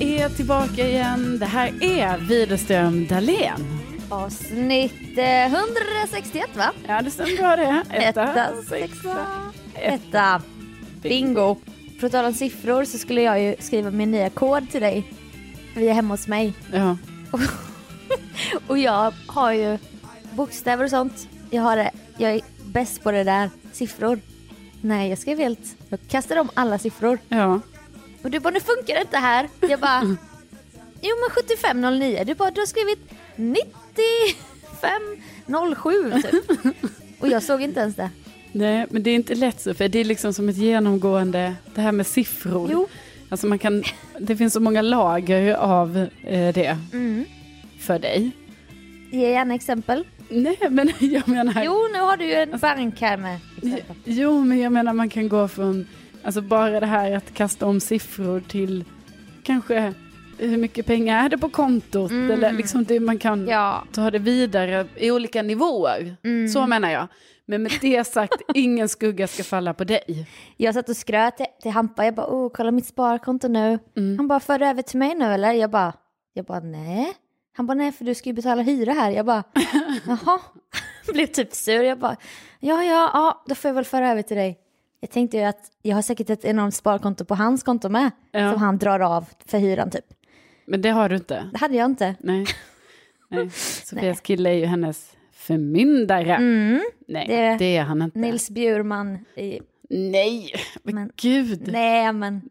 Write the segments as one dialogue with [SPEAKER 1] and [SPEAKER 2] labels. [SPEAKER 1] är tillbaka igen. Det här är Widerström Dahlén.
[SPEAKER 2] Avsnitt eh, 161 va?
[SPEAKER 1] Ja, det stämmer bra det.
[SPEAKER 2] Etta, sexa, etta. Bingo. För att tala om siffror så skulle jag ju skriva min nya kod till dig. Vi är hemma hos mig.
[SPEAKER 1] Ja.
[SPEAKER 2] Och jag har ju bokstäver och sånt. Jag, har det. jag är bäst på det där. Siffror. Nej, jag skrev helt... Jag kastade om alla siffror.
[SPEAKER 1] ja.
[SPEAKER 2] Och du bara, nu funkar det inte här. Jag bara, jo men 7509. Du bara, du har skrivit 9507 typ. Och jag såg inte ens det.
[SPEAKER 1] Nej, men det är inte lätt så, för det är liksom som ett genomgående, det här med siffror.
[SPEAKER 2] Jo.
[SPEAKER 1] Alltså man kan, det finns så många lager av eh, det
[SPEAKER 2] Mm.
[SPEAKER 1] för dig.
[SPEAKER 2] Ge gärna exempel.
[SPEAKER 1] Nej, men jag menar...
[SPEAKER 2] Jo, nu har du ju en bank här med. exempel.
[SPEAKER 1] Jo, men jag menar man kan gå från, alltså bara det här att kasta om siffror till kanske hur mycket pengar är det på kontot?
[SPEAKER 2] Mm.
[SPEAKER 1] Eller liksom det, man kan
[SPEAKER 2] Ja.
[SPEAKER 1] ta det vidare i olika nivåer.
[SPEAKER 2] Mm.
[SPEAKER 1] Så menar jag. Men med det sagt, ingen skugga ska falla på dig.
[SPEAKER 2] Jag satt och skröt till, till Hampa, jag bara oh, kolla mitt sparkonto nu.
[SPEAKER 1] Mm.
[SPEAKER 2] Han bara, för du över till mig nu eller? Jag bara, jag bara nej. Han bara nej för du ska ju betala hyra här. Jag bara, jaha. Blev typ sur. Jag bara, ja ja, ja då får jag väl föra över till dig. Jag tänkte ju att jag har säkert ett enormt sparkonto på hans konto med.
[SPEAKER 1] Ja.
[SPEAKER 2] Som han drar av för hyran typ.
[SPEAKER 1] Men det har du inte.
[SPEAKER 2] Det hade jag inte.
[SPEAKER 1] Nej. Nej. Sofias kille är ju hennes förmyndare. Nej, det
[SPEAKER 2] Mm. det-
[SPEAKER 1] är, han inte.
[SPEAKER 2] Nils Bjurman. I,
[SPEAKER 1] Nej, men,
[SPEAKER 2] Men-
[SPEAKER 1] gud.
[SPEAKER 2] nej men,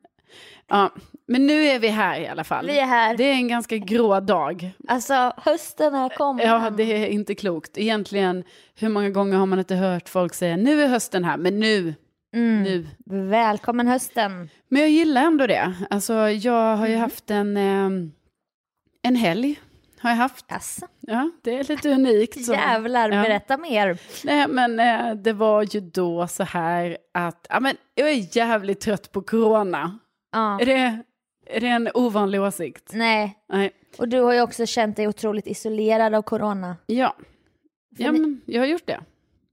[SPEAKER 1] Ja. Men nu är vi här i alla fall.
[SPEAKER 2] vi är här.
[SPEAKER 1] Det är en ganska grå dag.
[SPEAKER 2] Alltså hösten är kommit.
[SPEAKER 1] Ja, det är inte klokt. Egentligen, hur många gånger har man inte hört folk säga nu är hösten här, men nu, nu.
[SPEAKER 2] Mm. Välkommen hösten.
[SPEAKER 1] Men jag gillar ändå det. Alltså, jag har ju haft en, eh, en helg. Har jag haft.
[SPEAKER 2] Jaså?
[SPEAKER 1] Ja, det är lite unikt. så.
[SPEAKER 2] Jävlar,
[SPEAKER 1] Ja.
[SPEAKER 2] berätta mer.
[SPEAKER 1] Nej, men eh, det var ju då så här att ja, men jag är jävligt trött på corona.
[SPEAKER 2] Ja.
[SPEAKER 1] Är, det, är det en ovanlig åsikt?
[SPEAKER 2] Nej,
[SPEAKER 1] Nej.
[SPEAKER 2] och du har ju också känt dig otroligt isolerad av corona.
[SPEAKER 1] Ja. ja men, jag har gjort det.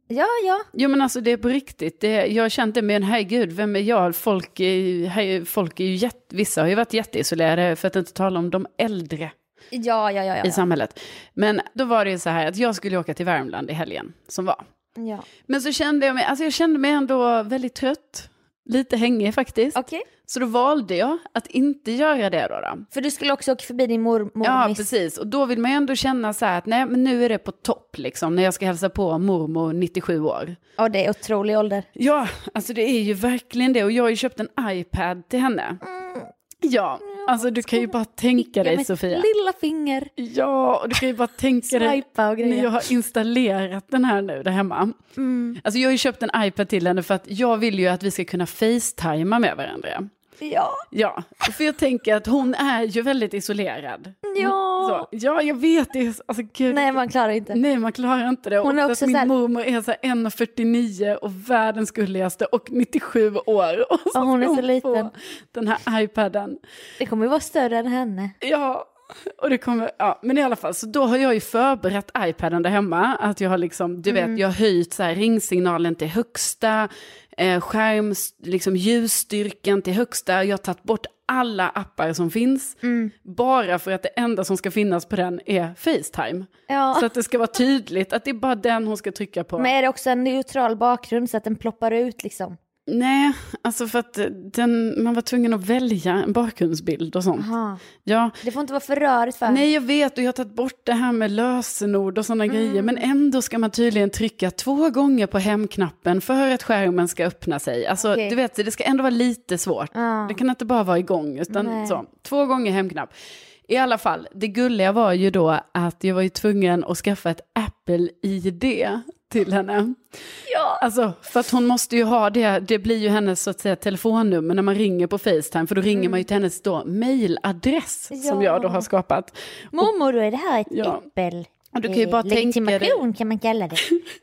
[SPEAKER 2] Ja, ja.
[SPEAKER 1] Jo men alltså det är på riktigt. Det, jag kände, men herregud, vem är jag? Folk är ju, här, folk är ju jätte, vissa har ju varit jätteisolerade, för att inte tala om de äldre
[SPEAKER 2] Ja, ja, ja.
[SPEAKER 1] i
[SPEAKER 2] Ja.
[SPEAKER 1] samhället. Men då var det ju så här att jag skulle åka till Värmland i helgen som var.
[SPEAKER 2] ja.
[SPEAKER 1] Men så kände jag mig, alltså jag kände mig ändå väldigt trött, lite hängig faktiskt.
[SPEAKER 2] Okej.
[SPEAKER 1] Så då valde jag att inte göra det då. då.
[SPEAKER 2] För du skulle också åka förbi din mormor.
[SPEAKER 1] Ja,
[SPEAKER 2] miss-
[SPEAKER 1] precis. Och då vill man ju ändå känna så här att nej, men nu är det på topp liksom, när jag ska hälsa på mormor 97 år.
[SPEAKER 2] Ja, det är otrolig ålder.
[SPEAKER 1] Ja, alltså det är ju verkligen det. Och jag har ju köpt en iPad till
[SPEAKER 2] Mm.
[SPEAKER 1] henne. Ja, alltså du kan ju bara tänka
[SPEAKER 2] Ja,
[SPEAKER 1] dig
[SPEAKER 2] men
[SPEAKER 1] Sofia.
[SPEAKER 2] Lilla finger.
[SPEAKER 1] Ja, och du kan ju bara tänka dig
[SPEAKER 2] Swipa
[SPEAKER 1] när
[SPEAKER 2] och grejer. Mm.
[SPEAKER 1] jag har installerat den här nu där hemma. Alltså jag har ju köpt en iPad till henne för att jag vill ju att vi ska kunna facetima med varandra.
[SPEAKER 2] Ja,
[SPEAKER 1] Ja, för jag tänker att hon är ju väldigt isolerad.
[SPEAKER 2] Mm, ja.
[SPEAKER 1] Så, ja, jag vet det. Alltså, gud,
[SPEAKER 2] Nej, man klarar inte.
[SPEAKER 1] Nej, man klarar inte det.
[SPEAKER 2] Hon är
[SPEAKER 1] Och
[SPEAKER 2] också
[SPEAKER 1] att min
[SPEAKER 2] så här-
[SPEAKER 1] mormor är så här 1,49 och världens gulligaste och 97 år. Och så
[SPEAKER 2] Ja, hon är
[SPEAKER 1] ska
[SPEAKER 2] så liten.
[SPEAKER 1] få Den här iPaden.
[SPEAKER 2] Det kommer ju vara större än henne.
[SPEAKER 1] Ja, och det kommer, ja, men i alla fall, så då har jag ju förberett iPaden där hemma. Att jag har liksom, du
[SPEAKER 2] Mm.
[SPEAKER 1] vet, jag har höjt så här ringsignalen till högsta, eh, skärms, liksom ljusstyrkan till högsta. Jag har tagit bort alla appar som finns.
[SPEAKER 2] Mm.
[SPEAKER 1] Bara för att det enda som ska finnas på den är Facetime.
[SPEAKER 2] Ja.
[SPEAKER 1] Så att det ska vara tydligt att det är bara den hon ska trycka på.
[SPEAKER 2] Men är det också en neutral bakgrund så att den ploppar ut liksom?
[SPEAKER 1] Nej, alltså för att den, man var tvungen att välja en bakgrundsbild och sånt.
[SPEAKER 2] Aha.
[SPEAKER 1] Ja,
[SPEAKER 2] Det får inte vara för rörigt för henne.
[SPEAKER 1] Nej, jag vet och jag har tagit bort det här med lösenord och
[SPEAKER 2] Mm.
[SPEAKER 1] sådana grejer. Men ändå ska man tydligen trycka två gånger på hemknappen för att skärmen ska öppna sig. Alltså,
[SPEAKER 2] Okej.
[SPEAKER 1] du vet, det ska ändå vara lite svårt.
[SPEAKER 2] Ja.
[SPEAKER 1] Det kan inte bara vara igång,
[SPEAKER 2] Nej.
[SPEAKER 1] utan så. Två gånger hemknapp. I alla fall, det gulliga var ju då att jag var ju tvungen att skaffa ett Apple-ID till henne.
[SPEAKER 2] Ja.
[SPEAKER 1] Alltså, för att hon måste ju ha det, det blir ju hennes så att säga telefonnummer när man ringer på Facetime, för då ringer man ju till hennes då mailadress som
[SPEAKER 2] Mm. Ja.
[SPEAKER 1] jag då har skapat.
[SPEAKER 2] Mormor, då är det här ett
[SPEAKER 1] Ja.
[SPEAKER 2] äppel.
[SPEAKER 1] Och du kan ju
[SPEAKER 2] Eh,
[SPEAKER 1] bara tänka dig-
[SPEAKER 2] Legitimation kan man kalla det.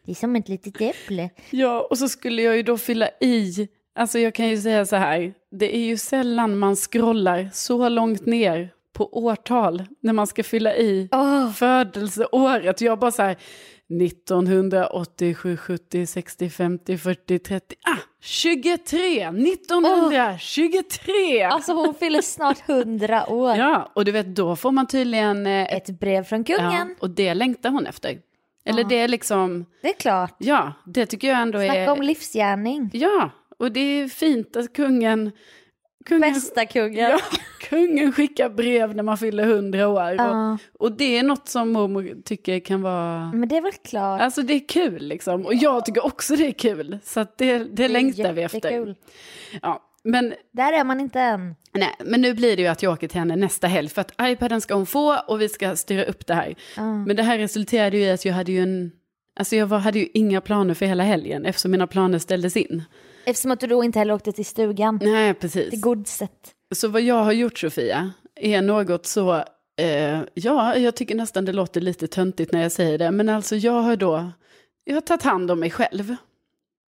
[SPEAKER 2] Det är som ett litet äpple.
[SPEAKER 1] Ja, och så skulle jag ju då fylla i, alltså jag kan ju säga så här, det är ju sällan man scrollar så långt ner på årtal när man ska fylla i
[SPEAKER 2] Åh.
[SPEAKER 1] födelseåret. Jag bara så här, 1987, 70, 60, 50, 40, 30, ah, 23, 1923!
[SPEAKER 2] Alltså hon fyller snart 100 år.
[SPEAKER 1] Ja, och du vet då får man tydligen... eh,
[SPEAKER 2] Ett brev från
[SPEAKER 1] ja,
[SPEAKER 2] kungen.
[SPEAKER 1] och det längtar hon efter. Eller det är liksom,
[SPEAKER 2] Det är klart.
[SPEAKER 1] ja, det tycker jag ändå är...
[SPEAKER 2] Snacka om livsgärning.
[SPEAKER 1] Ja, och det är fint att kungen... kungen
[SPEAKER 2] Bästa kungen.
[SPEAKER 1] ja, kungen skickar brev när man fyller 100 år.
[SPEAKER 2] Ja.
[SPEAKER 1] Och, och det är något som mormor tycker kan vara...
[SPEAKER 2] Men det är väl klart.
[SPEAKER 1] Alltså det är kul liksom. Och jag tycker också det är kul. Så att det, det,
[SPEAKER 2] Det är
[SPEAKER 1] längtar vi efter.
[SPEAKER 2] jättekul.
[SPEAKER 1] Ja, men
[SPEAKER 2] Där är man inte än.
[SPEAKER 1] Nej, men nu blir det ju att jag åker till henne nästa helg för att iPaden ska hon få och vi ska styra upp det här. Men det här resulterade ju i att jag hade ju en... Alltså jag var, hade ju inga planer för hela helgen eftersom mina planer ställdes in.
[SPEAKER 2] Eftersom att du då inte heller åkte till stugan.
[SPEAKER 1] Nej, precis.
[SPEAKER 2] Till godset.
[SPEAKER 1] Så vad jag har gjort, Sofia, är något så... Eh, ja, jag tycker nästan det låter lite töntigt när jag säger det, men alltså jag har då... Jag har tagit hand om mig själv.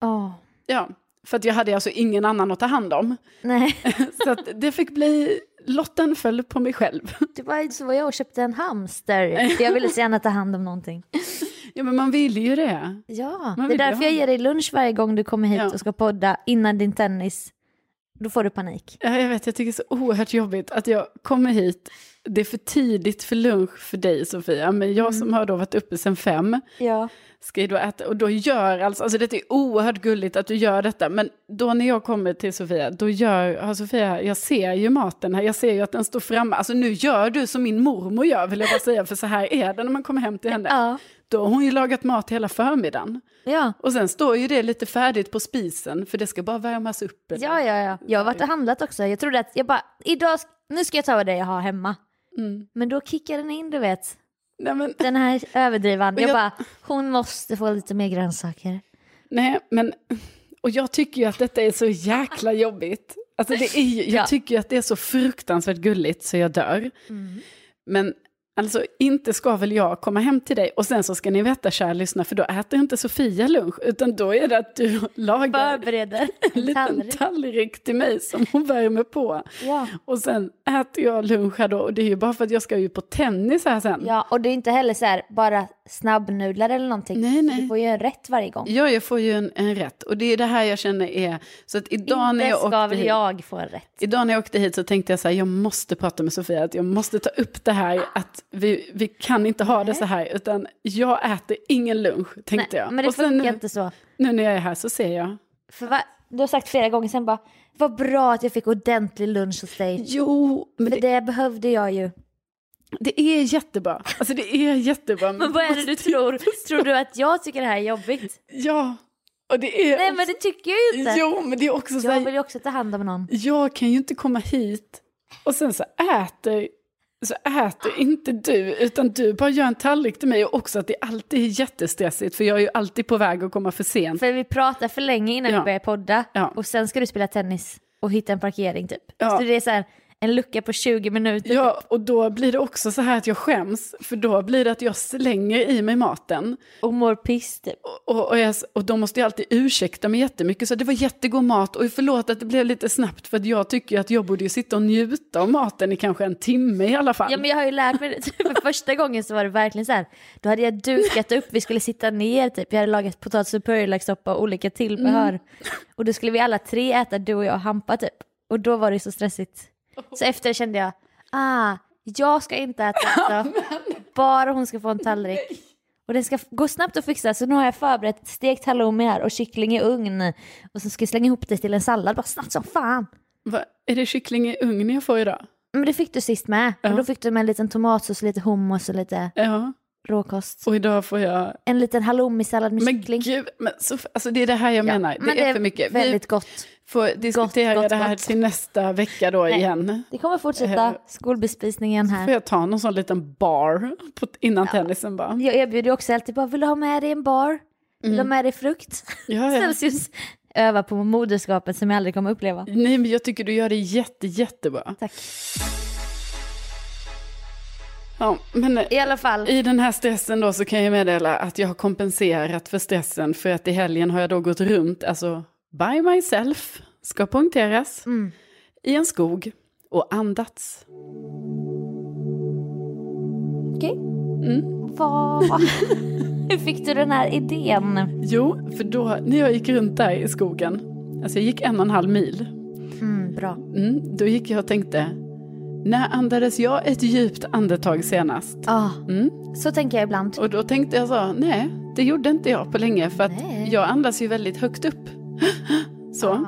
[SPEAKER 2] Åh.
[SPEAKER 1] Ja, för att jag hade alltså ingen annan att ta hand om.
[SPEAKER 2] Nej,
[SPEAKER 1] Så att det fick bli... Lotten föll på mig själv.
[SPEAKER 2] det var ju så var jag och köpte en hamster. För jag ville så gärna ta hand om någonting.
[SPEAKER 1] Ja, men man ville ju det.
[SPEAKER 2] Ja,
[SPEAKER 1] Man
[SPEAKER 2] det är
[SPEAKER 1] vill ju
[SPEAKER 2] därför
[SPEAKER 1] ha
[SPEAKER 2] jag
[SPEAKER 1] det.
[SPEAKER 2] ger dig lunch varje gång du kommer hit
[SPEAKER 1] Ja.
[SPEAKER 2] och ska podda innan din tennis. Då får du panik.
[SPEAKER 1] Ja, jag vet, jag tycker det är så oerhört jobbigt att jag kommer hit. Det är för tidigt för lunch för dig Sofia, men jag
[SPEAKER 2] Mm.
[SPEAKER 1] som har då varit uppe sen fem
[SPEAKER 2] Ja.
[SPEAKER 1] ska ju då äta och då gör alltså, alltså det är oerhört gulligt att du gör detta, men då när jag kommer till Sofia, då gör, har Sofia, jag ser ju maten här, jag ser ju att den står framme, alltså nu gör du som min mormor gör vill jag bara säga, för så här är det när man kommer hem till henne.
[SPEAKER 2] Ja.
[SPEAKER 1] Då har hon ju lagat mat hela förmiddagen.
[SPEAKER 2] Ja.
[SPEAKER 1] Och sen står ju det lite färdigt på spisen, för det ska bara värmas upp. eller-
[SPEAKER 2] Ja, ja, ja. Jag har varit och handlat också. Jag trodde att jag bara, idag, sk- nu ska jag ta vad det jag har hemma.
[SPEAKER 1] Mm.
[SPEAKER 2] Men då kickar den in, du vet.
[SPEAKER 1] Nej, men,
[SPEAKER 2] Den här överdrivan.
[SPEAKER 1] Men
[SPEAKER 2] Jag
[SPEAKER 1] jag-
[SPEAKER 2] bara, hon måste få lite mer grönsaker.
[SPEAKER 1] Nej, men... Och jag tycker ju att detta är så jäkla jobbigt. Alltså det är ju, jag
[SPEAKER 2] Ja.
[SPEAKER 1] tycker ju att det är så fruktansvärt gulligt så jag dör.
[SPEAKER 2] Mm.
[SPEAKER 1] Men alltså inte ska väl jag komma hem till dig och sen så ska ni veta kära lyssnare, för då äter inte Sofia lunch, utan då är det att du lagar
[SPEAKER 2] Förbereder
[SPEAKER 1] en liten
[SPEAKER 2] tallrik.
[SPEAKER 1] tallrik. till mig som hon värmer på.
[SPEAKER 2] Ja.
[SPEAKER 1] Och sen äter jag lunch här då, och det är ju bara för att jag ska ju på tennis här sen.
[SPEAKER 2] Ja, och det är inte heller så här bara snabbnudlar eller någonting.
[SPEAKER 1] Nej,
[SPEAKER 2] Du
[SPEAKER 1] nej.
[SPEAKER 2] får ju en rätt varje gång.
[SPEAKER 1] Ja, jag får ju en, en rätt. Och det är det här jag känner är... Så att idag när
[SPEAKER 2] inte
[SPEAKER 1] jag
[SPEAKER 2] ska
[SPEAKER 1] åkte
[SPEAKER 2] väl
[SPEAKER 1] hit-
[SPEAKER 2] jag få en rätt.
[SPEAKER 1] Idag när jag åkte hit så tänkte jag så här, jag måste prata med Sofia, att jag måste ta upp det här, att vi, vi kan inte ha det så här, utan jag äter ingen lunch, tänkte jag.
[SPEAKER 2] Men det
[SPEAKER 1] och sen
[SPEAKER 2] funkar
[SPEAKER 1] nu,
[SPEAKER 2] inte så.
[SPEAKER 1] nu när jag är här så ser jag,
[SPEAKER 2] För va, du har sagt flera gånger sen bara, vad bra att jag fick ordentlig lunch hos dig.
[SPEAKER 1] jo, men
[SPEAKER 2] För
[SPEAKER 1] det,
[SPEAKER 2] det behövde jag ju.
[SPEAKER 1] det är jättebra. Alltså det är jättebra.
[SPEAKER 2] Men vad är det du tror? Tror du att jag tycker det här är jobbigt?
[SPEAKER 1] Ja, och det är...
[SPEAKER 2] Nej men det tycker jag ju inte.
[SPEAKER 1] Jo, men det är också så
[SPEAKER 2] Jag
[SPEAKER 1] här,
[SPEAKER 2] vill ju också ta hand om någon.
[SPEAKER 1] jag kan ju inte komma hit och sen så äter, så äter inte du, utan du bara gör en tallrik till mig och också att det alltid är jättestressigt, för jag är ju alltid på väg att komma för sent.
[SPEAKER 2] För vi pratar för länge innan vi
[SPEAKER 1] Ja.
[SPEAKER 2] börjar podda
[SPEAKER 1] Ja.
[SPEAKER 2] och sen ska du spela tennis och hitta en parkering typ.
[SPEAKER 1] Ja.
[SPEAKER 2] Så det är så här en lucka på 20 minuter.
[SPEAKER 1] Ja, och då blir det också så här att jag skäms, för då blir det att jag slänger i mig maten.
[SPEAKER 2] och mår piss typ.
[SPEAKER 1] Och, och, och, jag, och de måste ju alltid ursäkta mig jättemycket, så det var jättegod mat och förlåt att det blev lite snabbt, för att jag tycker ju att jag borde ju sitta och njuta av maten i kanske en timme i alla fall.
[SPEAKER 2] Ja men jag har ju lärt mig det. Typ, För första gången så var det verkligen så här. Då hade jag dukat upp, vi skulle sitta ner typ. Jag hade lagat potatis och purjolökssoppa och olika tillbehör. Och då skulle vi alla tre äta, du och jag och Hampa typ. Och då var det så stressigt. Så efter kände jag, ah, jag ska inte äta också. Bara hon ska få en tallrik. Och den ska f- gå snabbt att fixa så nu har jag förberett stekt halloumi här och kyckling i ugn. Och så ska jag slänga ihop det till en sallad, bara snabbt som fan.
[SPEAKER 1] Va, är det kyckling i ugn jag får idag?
[SPEAKER 2] Men det fick du sist med.
[SPEAKER 1] Ja.
[SPEAKER 2] Och då fick du med en liten tomatsås, lite hummus och lite
[SPEAKER 1] Ja,
[SPEAKER 2] råkost.
[SPEAKER 1] och idag får jag...
[SPEAKER 2] En liten halloumisallad med
[SPEAKER 1] Men
[SPEAKER 2] kyckling.
[SPEAKER 1] gud, men, så, alltså det är det här jag
[SPEAKER 2] Ja,
[SPEAKER 1] menar, det,
[SPEAKER 2] men
[SPEAKER 1] är, för mycket.
[SPEAKER 2] Väldigt
[SPEAKER 1] Vi
[SPEAKER 2] gott.
[SPEAKER 1] får diskutera
[SPEAKER 2] gott,
[SPEAKER 1] det här
[SPEAKER 2] gott.
[SPEAKER 1] till nästa vecka då
[SPEAKER 2] Nej.
[SPEAKER 1] igen.
[SPEAKER 2] Det kommer fortsätta
[SPEAKER 1] Eh,
[SPEAKER 2] skolbespisningen
[SPEAKER 1] Får
[SPEAKER 2] här.
[SPEAKER 1] jag ta någon sån liten bar på, innan tennisen bara?
[SPEAKER 2] Jag erbjuder ju också alltid bara, vill du ha med dig en bar? Vill du ha med dig frukt?
[SPEAKER 1] Mm. Ja, ja.
[SPEAKER 2] Celsius öva på moderskapet som jag aldrig kommer uppleva.
[SPEAKER 1] Nej, men jag tycker du gör det jätte, jättebra.
[SPEAKER 2] Tack.
[SPEAKER 1] Ja, men eh,
[SPEAKER 2] I alla fall,
[SPEAKER 1] i den här stressen då så kan jag meddela att jag har kompenserat för stressen för att i helgen har jag då gått runt, alltså by myself, ska poängteras,
[SPEAKER 2] Mm.
[SPEAKER 1] i en skog och andats.
[SPEAKER 2] okej. Vad... Hur Mm. fick du den här idén?
[SPEAKER 1] Jo, för då när jag gick runt där i skogen Alltså jag gick en och en halv mil.
[SPEAKER 2] Mm, bra.
[SPEAKER 1] Mm, då gick jag och tänkte, när andades jag ett djupt andetag senast?
[SPEAKER 2] Ah,
[SPEAKER 1] Mm.
[SPEAKER 2] så tänker jag ibland.
[SPEAKER 1] Och då tänkte jag så, nej, det gjorde inte jag på länge för att
[SPEAKER 2] Nej.
[SPEAKER 1] jag andas ju väldigt högt upp. Så,
[SPEAKER 2] Ah.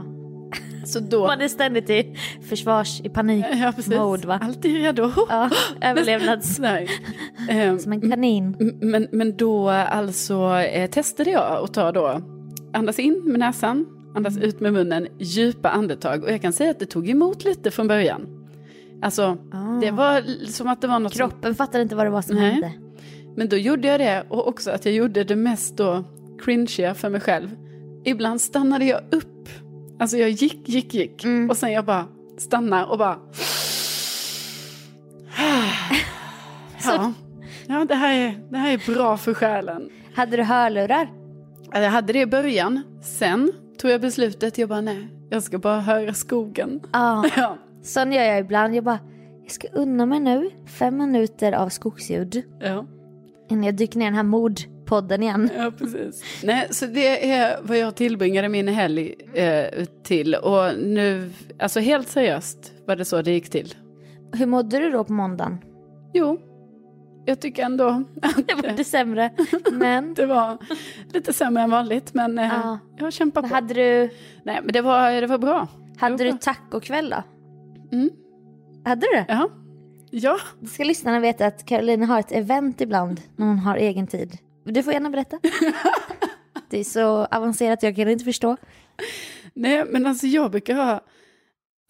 [SPEAKER 1] så då...
[SPEAKER 2] Man är ständigt i försvars, i panik.
[SPEAKER 1] Ja, precis.
[SPEAKER 2] Mode, va?
[SPEAKER 1] Alltid redo.
[SPEAKER 2] Ja, överlevnads...
[SPEAKER 1] Sådär. Ehm,
[SPEAKER 2] Som en kanin.
[SPEAKER 1] m- men, men då alltså eh, testade jag att ta då, andas in med näsan, andas ut med munnen, djupa andetag. Och jag kan säga att det tog emot lite från början. Alltså,
[SPEAKER 2] Ah.
[SPEAKER 1] det var l- som att det var något som
[SPEAKER 2] Kroppen fattar inte vad det var som
[SPEAKER 1] Nej.
[SPEAKER 2] hände.
[SPEAKER 1] Men då gjorde jag det och också att jag gjorde det mest då cringiga för mig själv. Ibland stannade jag upp. Alltså jag gick, gick, gick.
[SPEAKER 2] Mm.
[SPEAKER 1] Och sen jag bara stannar och bara... Ja, ja det, här är, det här är bra för själen.
[SPEAKER 2] Hade du hörlurar?
[SPEAKER 1] Alltså, Jag hade det i början. Sen tog jag beslutet. Jag bara nej, jag ska bara höra skogen.
[SPEAKER 2] Ja,
[SPEAKER 1] Ja,
[SPEAKER 2] sån gör jag ibland. Jag bara, jag ska unna mig nu fem minuter av skogsljud
[SPEAKER 1] ja.
[SPEAKER 2] innan jag dyker ner i den här mordpodden igen.
[SPEAKER 1] Ja, precis. Nej, så det är vad jag tillbringade min helg eh, till. Och nu, alltså helt seriöst var det så det gick till.
[SPEAKER 2] Hur mådde du då på måndagen?
[SPEAKER 1] Jo, jag tycker ändå att
[SPEAKER 2] Det var det sämre. Men,
[SPEAKER 1] det var lite sämre än vanligt. Men eh,
[SPEAKER 2] Ja.
[SPEAKER 1] jag kämpar på.
[SPEAKER 2] men hade du,
[SPEAKER 1] Nej, men det var, det var bra.
[SPEAKER 2] hade
[SPEAKER 1] Jo.
[SPEAKER 2] du tacokväll då?
[SPEAKER 1] Mm.
[SPEAKER 2] Hade du det?
[SPEAKER 1] Ja. Ja,
[SPEAKER 2] Då ska lyssnarna veta att Caroline har ett event ibland när hon har egen tid. Du får gärna berätta. Det är så avancerat, jag kan inte förstå.
[SPEAKER 1] nej men alltså jag brukar ha,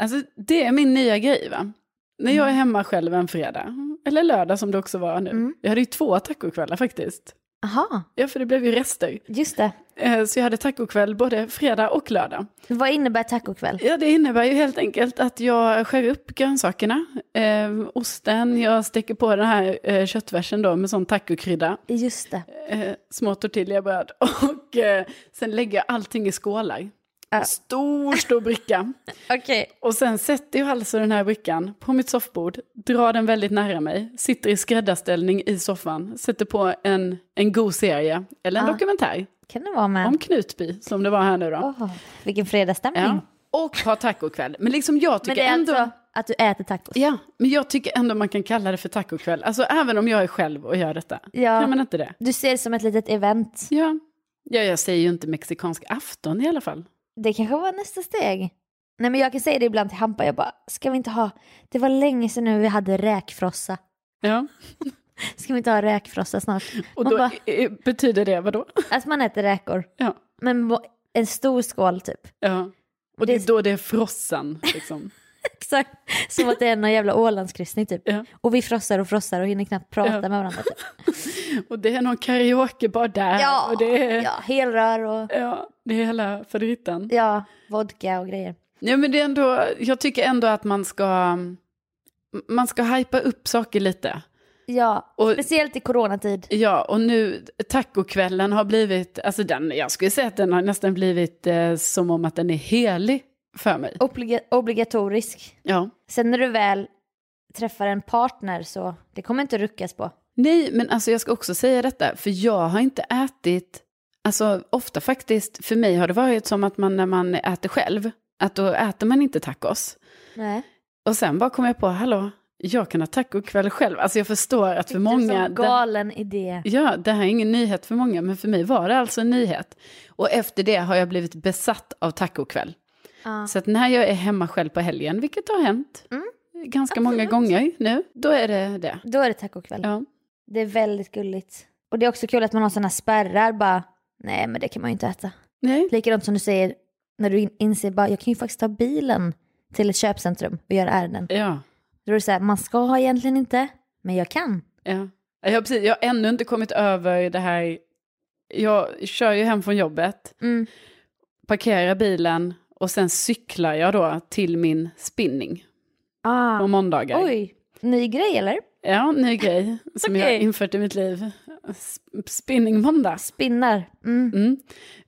[SPEAKER 1] alltså det är min nya grej va. När jag är hemma själv en fredag, eller lördag som det också var nu.
[SPEAKER 2] Mm.
[SPEAKER 1] Jag hade ju två tacokvällar faktiskt.
[SPEAKER 2] Aha,
[SPEAKER 1] Ja, för det blev ju rester.
[SPEAKER 2] just det.
[SPEAKER 1] Eh, Så jag hade tacokväll både fredag och lördag.
[SPEAKER 2] Vad innebär tacokväll?
[SPEAKER 1] Ja, det innebär ju helt enkelt att jag skär upp grönsakerna, eh, osten, jag steker på den här eh, köttfärsen då med sån tacokrydda,
[SPEAKER 2] Just det.
[SPEAKER 1] eh, små tortillabröd och eh, sen lägger jag allting i skålar.
[SPEAKER 2] Ja.
[SPEAKER 1] Stor, stor bricka.
[SPEAKER 2] Okej.
[SPEAKER 1] Och sen sätter jag alltså den här brickan på mitt soffbord, drar den väldigt nära mig, sitter i skräddarställning i soffan, sätter på en, en god serie, eller en
[SPEAKER 2] Ja.
[SPEAKER 1] dokumentär,
[SPEAKER 2] Kan det vara med?
[SPEAKER 1] om Knutby som det var här nu då.
[SPEAKER 2] Åh, vilken fredagsstämning.
[SPEAKER 1] Ja. Mm. Och ha tacokväll. Men liksom jag
[SPEAKER 2] Men
[SPEAKER 1] tycker
[SPEAKER 2] det är
[SPEAKER 1] ändå...
[SPEAKER 2] alltså att du äter tacos?
[SPEAKER 1] Ja, men jag tycker ändå man kan kalla det för tacokväll. Alltså även om jag är själv och gör detta.
[SPEAKER 2] Ja.
[SPEAKER 1] Kan man inte det?
[SPEAKER 2] Du ser det som ett litet event.
[SPEAKER 1] Ja. ja, jag säger ju inte mexikansk afton i alla fall.
[SPEAKER 2] Det kanske var nästa steg. Nej men jag kan säga det ibland till Hampa, jag bara, ska vi inte ha, det var länge sedan nu vi hade räkfrossa.
[SPEAKER 1] Ja,
[SPEAKER 2] Ska vi inte ha räkfrossa snart?
[SPEAKER 1] och
[SPEAKER 2] Man
[SPEAKER 1] då
[SPEAKER 2] bara-
[SPEAKER 1] eh, betyder det vadå?
[SPEAKER 2] Att man äter räkor.
[SPEAKER 1] Ja.
[SPEAKER 2] Men må- en stor skål typ.
[SPEAKER 1] Ja. Och
[SPEAKER 2] Det
[SPEAKER 1] det
[SPEAKER 2] är
[SPEAKER 1] är då det är frossan, liksom.
[SPEAKER 2] Exakt. Som att det är någon jävla Ålandskryssning typ.
[SPEAKER 1] Ja.
[SPEAKER 2] Och vi frossar och frossar och hinner knappt prata
[SPEAKER 1] Ja.
[SPEAKER 2] med varandra. Typ.
[SPEAKER 1] Och det är någon karaokebar där.
[SPEAKER 2] Ja,
[SPEAKER 1] och det är,
[SPEAKER 2] ja, helrör och
[SPEAKER 1] ja, det är hela faderuttan.
[SPEAKER 2] ja, vodka och grejer.
[SPEAKER 1] Ja, men det är ändå, jag tycker ändå att man ska, man ska hypa upp saker lite.
[SPEAKER 2] Ja,
[SPEAKER 1] Och-
[SPEAKER 2] speciellt i coronatid.
[SPEAKER 1] Ja, och nu tacokvällen har blivit, alltså den, jag skulle säga att den har nästan blivit eh, som om att den är helig för mig.
[SPEAKER 2] Obliga obligatorisk.
[SPEAKER 1] Ja.
[SPEAKER 2] Sen när du väl träffar en partner så det kommer inte ruckas på.
[SPEAKER 1] Nej, men alltså jag ska också säga detta, för jag har inte ätit, alltså ofta faktiskt, för mig har det varit som att man när man äter själv, att då äter man inte tacos.
[SPEAKER 2] Nej.
[SPEAKER 1] Och sen bara kom jag på, hallå, jag kan ha tacokväll själv. Alltså jag förstår att för
[SPEAKER 2] det är
[SPEAKER 1] många...
[SPEAKER 2] en sån galen idé.
[SPEAKER 1] Ja, det här är ingen nyhet för många, men för mig var det alltså en nyhet. Och efter det har jag blivit besatt av tacokväll.
[SPEAKER 2] Ja.
[SPEAKER 1] Så att när jag är hemma själv på helgen, vilket har hänt
[SPEAKER 2] Mm.
[SPEAKER 1] ganska många gånger nu, då är det det.
[SPEAKER 2] Då är det tacokväll.
[SPEAKER 1] Ja.
[SPEAKER 2] Det är väldigt gulligt. Och det är också kul att man har sådana spärrar bara, nej men det kan man ju inte äta.
[SPEAKER 1] Nej.
[SPEAKER 2] Likadant som du säger när du in- inser bara, jag kan ju faktiskt ta bilen till ett köpcentrum och göra ärenden.
[SPEAKER 1] Ja.
[SPEAKER 2] Då är det så här, man ska ha egentligen inte, men jag kan.
[SPEAKER 1] ja. Jag har, precis, jag har ännu inte kommit över det här. Jag kör ju hem från jobbet,
[SPEAKER 2] Mm.
[SPEAKER 1] parkerar bilen och sen cyklar jag då till min spinning på
[SPEAKER 2] Ah,
[SPEAKER 1] måndagar.
[SPEAKER 2] oj, ny grej eller?
[SPEAKER 1] Ja, ny grej som jag har
[SPEAKER 2] Okej.
[SPEAKER 1] infört i mitt liv. Sp- Spinning måndag.
[SPEAKER 2] Spinnar. Mm.
[SPEAKER 1] Mm.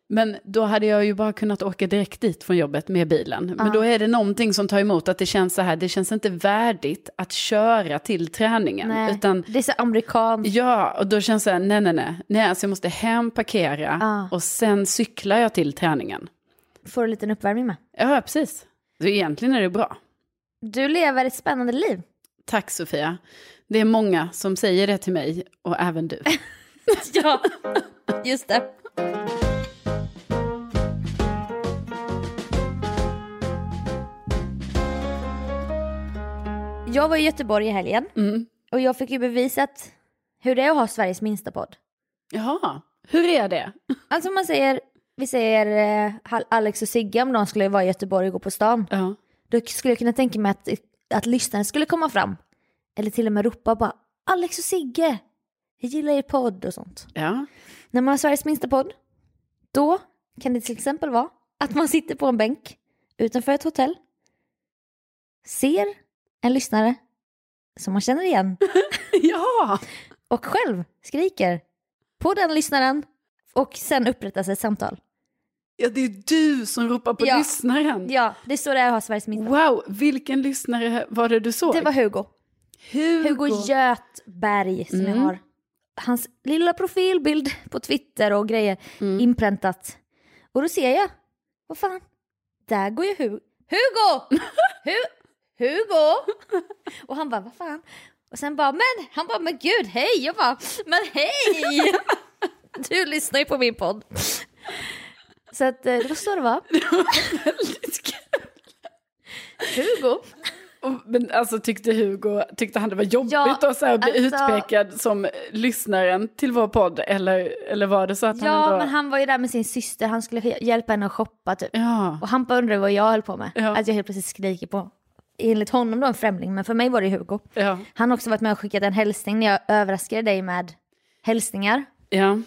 [SPEAKER 1] Men då hade jag ju bara kunnat åka direkt dit från jobbet med bilen. Men
[SPEAKER 2] Ja.
[SPEAKER 1] då är det någonting som tar emot att det känns så här, det känns inte värdigt att köra till träningen.
[SPEAKER 2] Nej.
[SPEAKER 1] Utan
[SPEAKER 2] Det är så amerikanskt.
[SPEAKER 1] ja, och då känns det så här, nej nej nej, nej alltså jag måste hem, parkera
[SPEAKER 2] Ja.
[SPEAKER 1] och sen cyklar jag till träningen.
[SPEAKER 2] får du en liten uppvärmning med.
[SPEAKER 1] Ja, precis. Så egentligen är det bra.
[SPEAKER 2] Du lever ett spännande liv.
[SPEAKER 1] Tack Sofia. Det är många som säger det till mig och även du.
[SPEAKER 2] Ja, just det. Jag var i Göteborg i helgen
[SPEAKER 1] Mm.
[SPEAKER 2] och jag fick ju bevisat hur det är att ha Sveriges minsta podd.
[SPEAKER 1] Jaha, hur är det?
[SPEAKER 2] Alltså om man säger, vi säger eh, Hal- Alex och Sigge om de skulle vara i Göteborg och gå på stan.
[SPEAKER 1] Ja.
[SPEAKER 2] Då skulle jag kunna tänka mig att, att lyssnaren skulle komma fram. Eller till och med ropa bara Alex och Sigge, jag gillar er podd och sånt.
[SPEAKER 1] ja.
[SPEAKER 2] När man har Sveriges minsta podd, då kan det till exempel vara att man sitter på en bänk utanför ett hotell, ser en lyssnare som man känner igen
[SPEAKER 1] Ja,
[SPEAKER 2] och själv skriker på den lyssnaren och sen upprättas ett samtal.
[SPEAKER 1] ja det är du som ropar på
[SPEAKER 2] Ja.
[SPEAKER 1] lyssnaren.
[SPEAKER 2] Ja, det är så det är att ha Sveriges minsta
[SPEAKER 1] Wow, vilken lyssnare var det du såg?
[SPEAKER 2] Det var Hugo.
[SPEAKER 1] Hugo.
[SPEAKER 2] Hugo Götberg som
[SPEAKER 1] Mm.
[SPEAKER 2] jag har hans lilla profilbild på Twitter och grejer
[SPEAKER 1] Mm.
[SPEAKER 2] inpräntat. Och då ser jag, vad fan, där går ju Hugo. Hugo! Hu- Hugo! Och han bara, vad fan? Och sen bara, men, han bara, men gud, hej! Jag bara, men hej! Du lyssnar ju på min podd. Så att eh, det var så det var.
[SPEAKER 1] Väldigt kul.
[SPEAKER 2] Hugo.
[SPEAKER 1] Och- Men alltså tyckte Hugo, tyckte han det var jobbigt
[SPEAKER 2] Ja,
[SPEAKER 1] att så här bli
[SPEAKER 2] alltså-
[SPEAKER 1] utpekad som lyssnaren till vår podd? Eller, eller var det så att han
[SPEAKER 2] Ja,
[SPEAKER 1] ändå...
[SPEAKER 2] men han var ju där med sin syster, han skulle hj- hjälpa henne att shoppa typ.
[SPEAKER 1] Ja,
[SPEAKER 2] Och han bara undrade vad jag höll på med.
[SPEAKER 1] Ja.
[SPEAKER 2] Att jag helt plötsligt skriker på, enligt honom då en främling, men för mig var det Hugo.
[SPEAKER 1] ja,
[SPEAKER 2] Han har också varit med och skickat en hälsning när jag överraskade dig med hälsningar.
[SPEAKER 1] ja.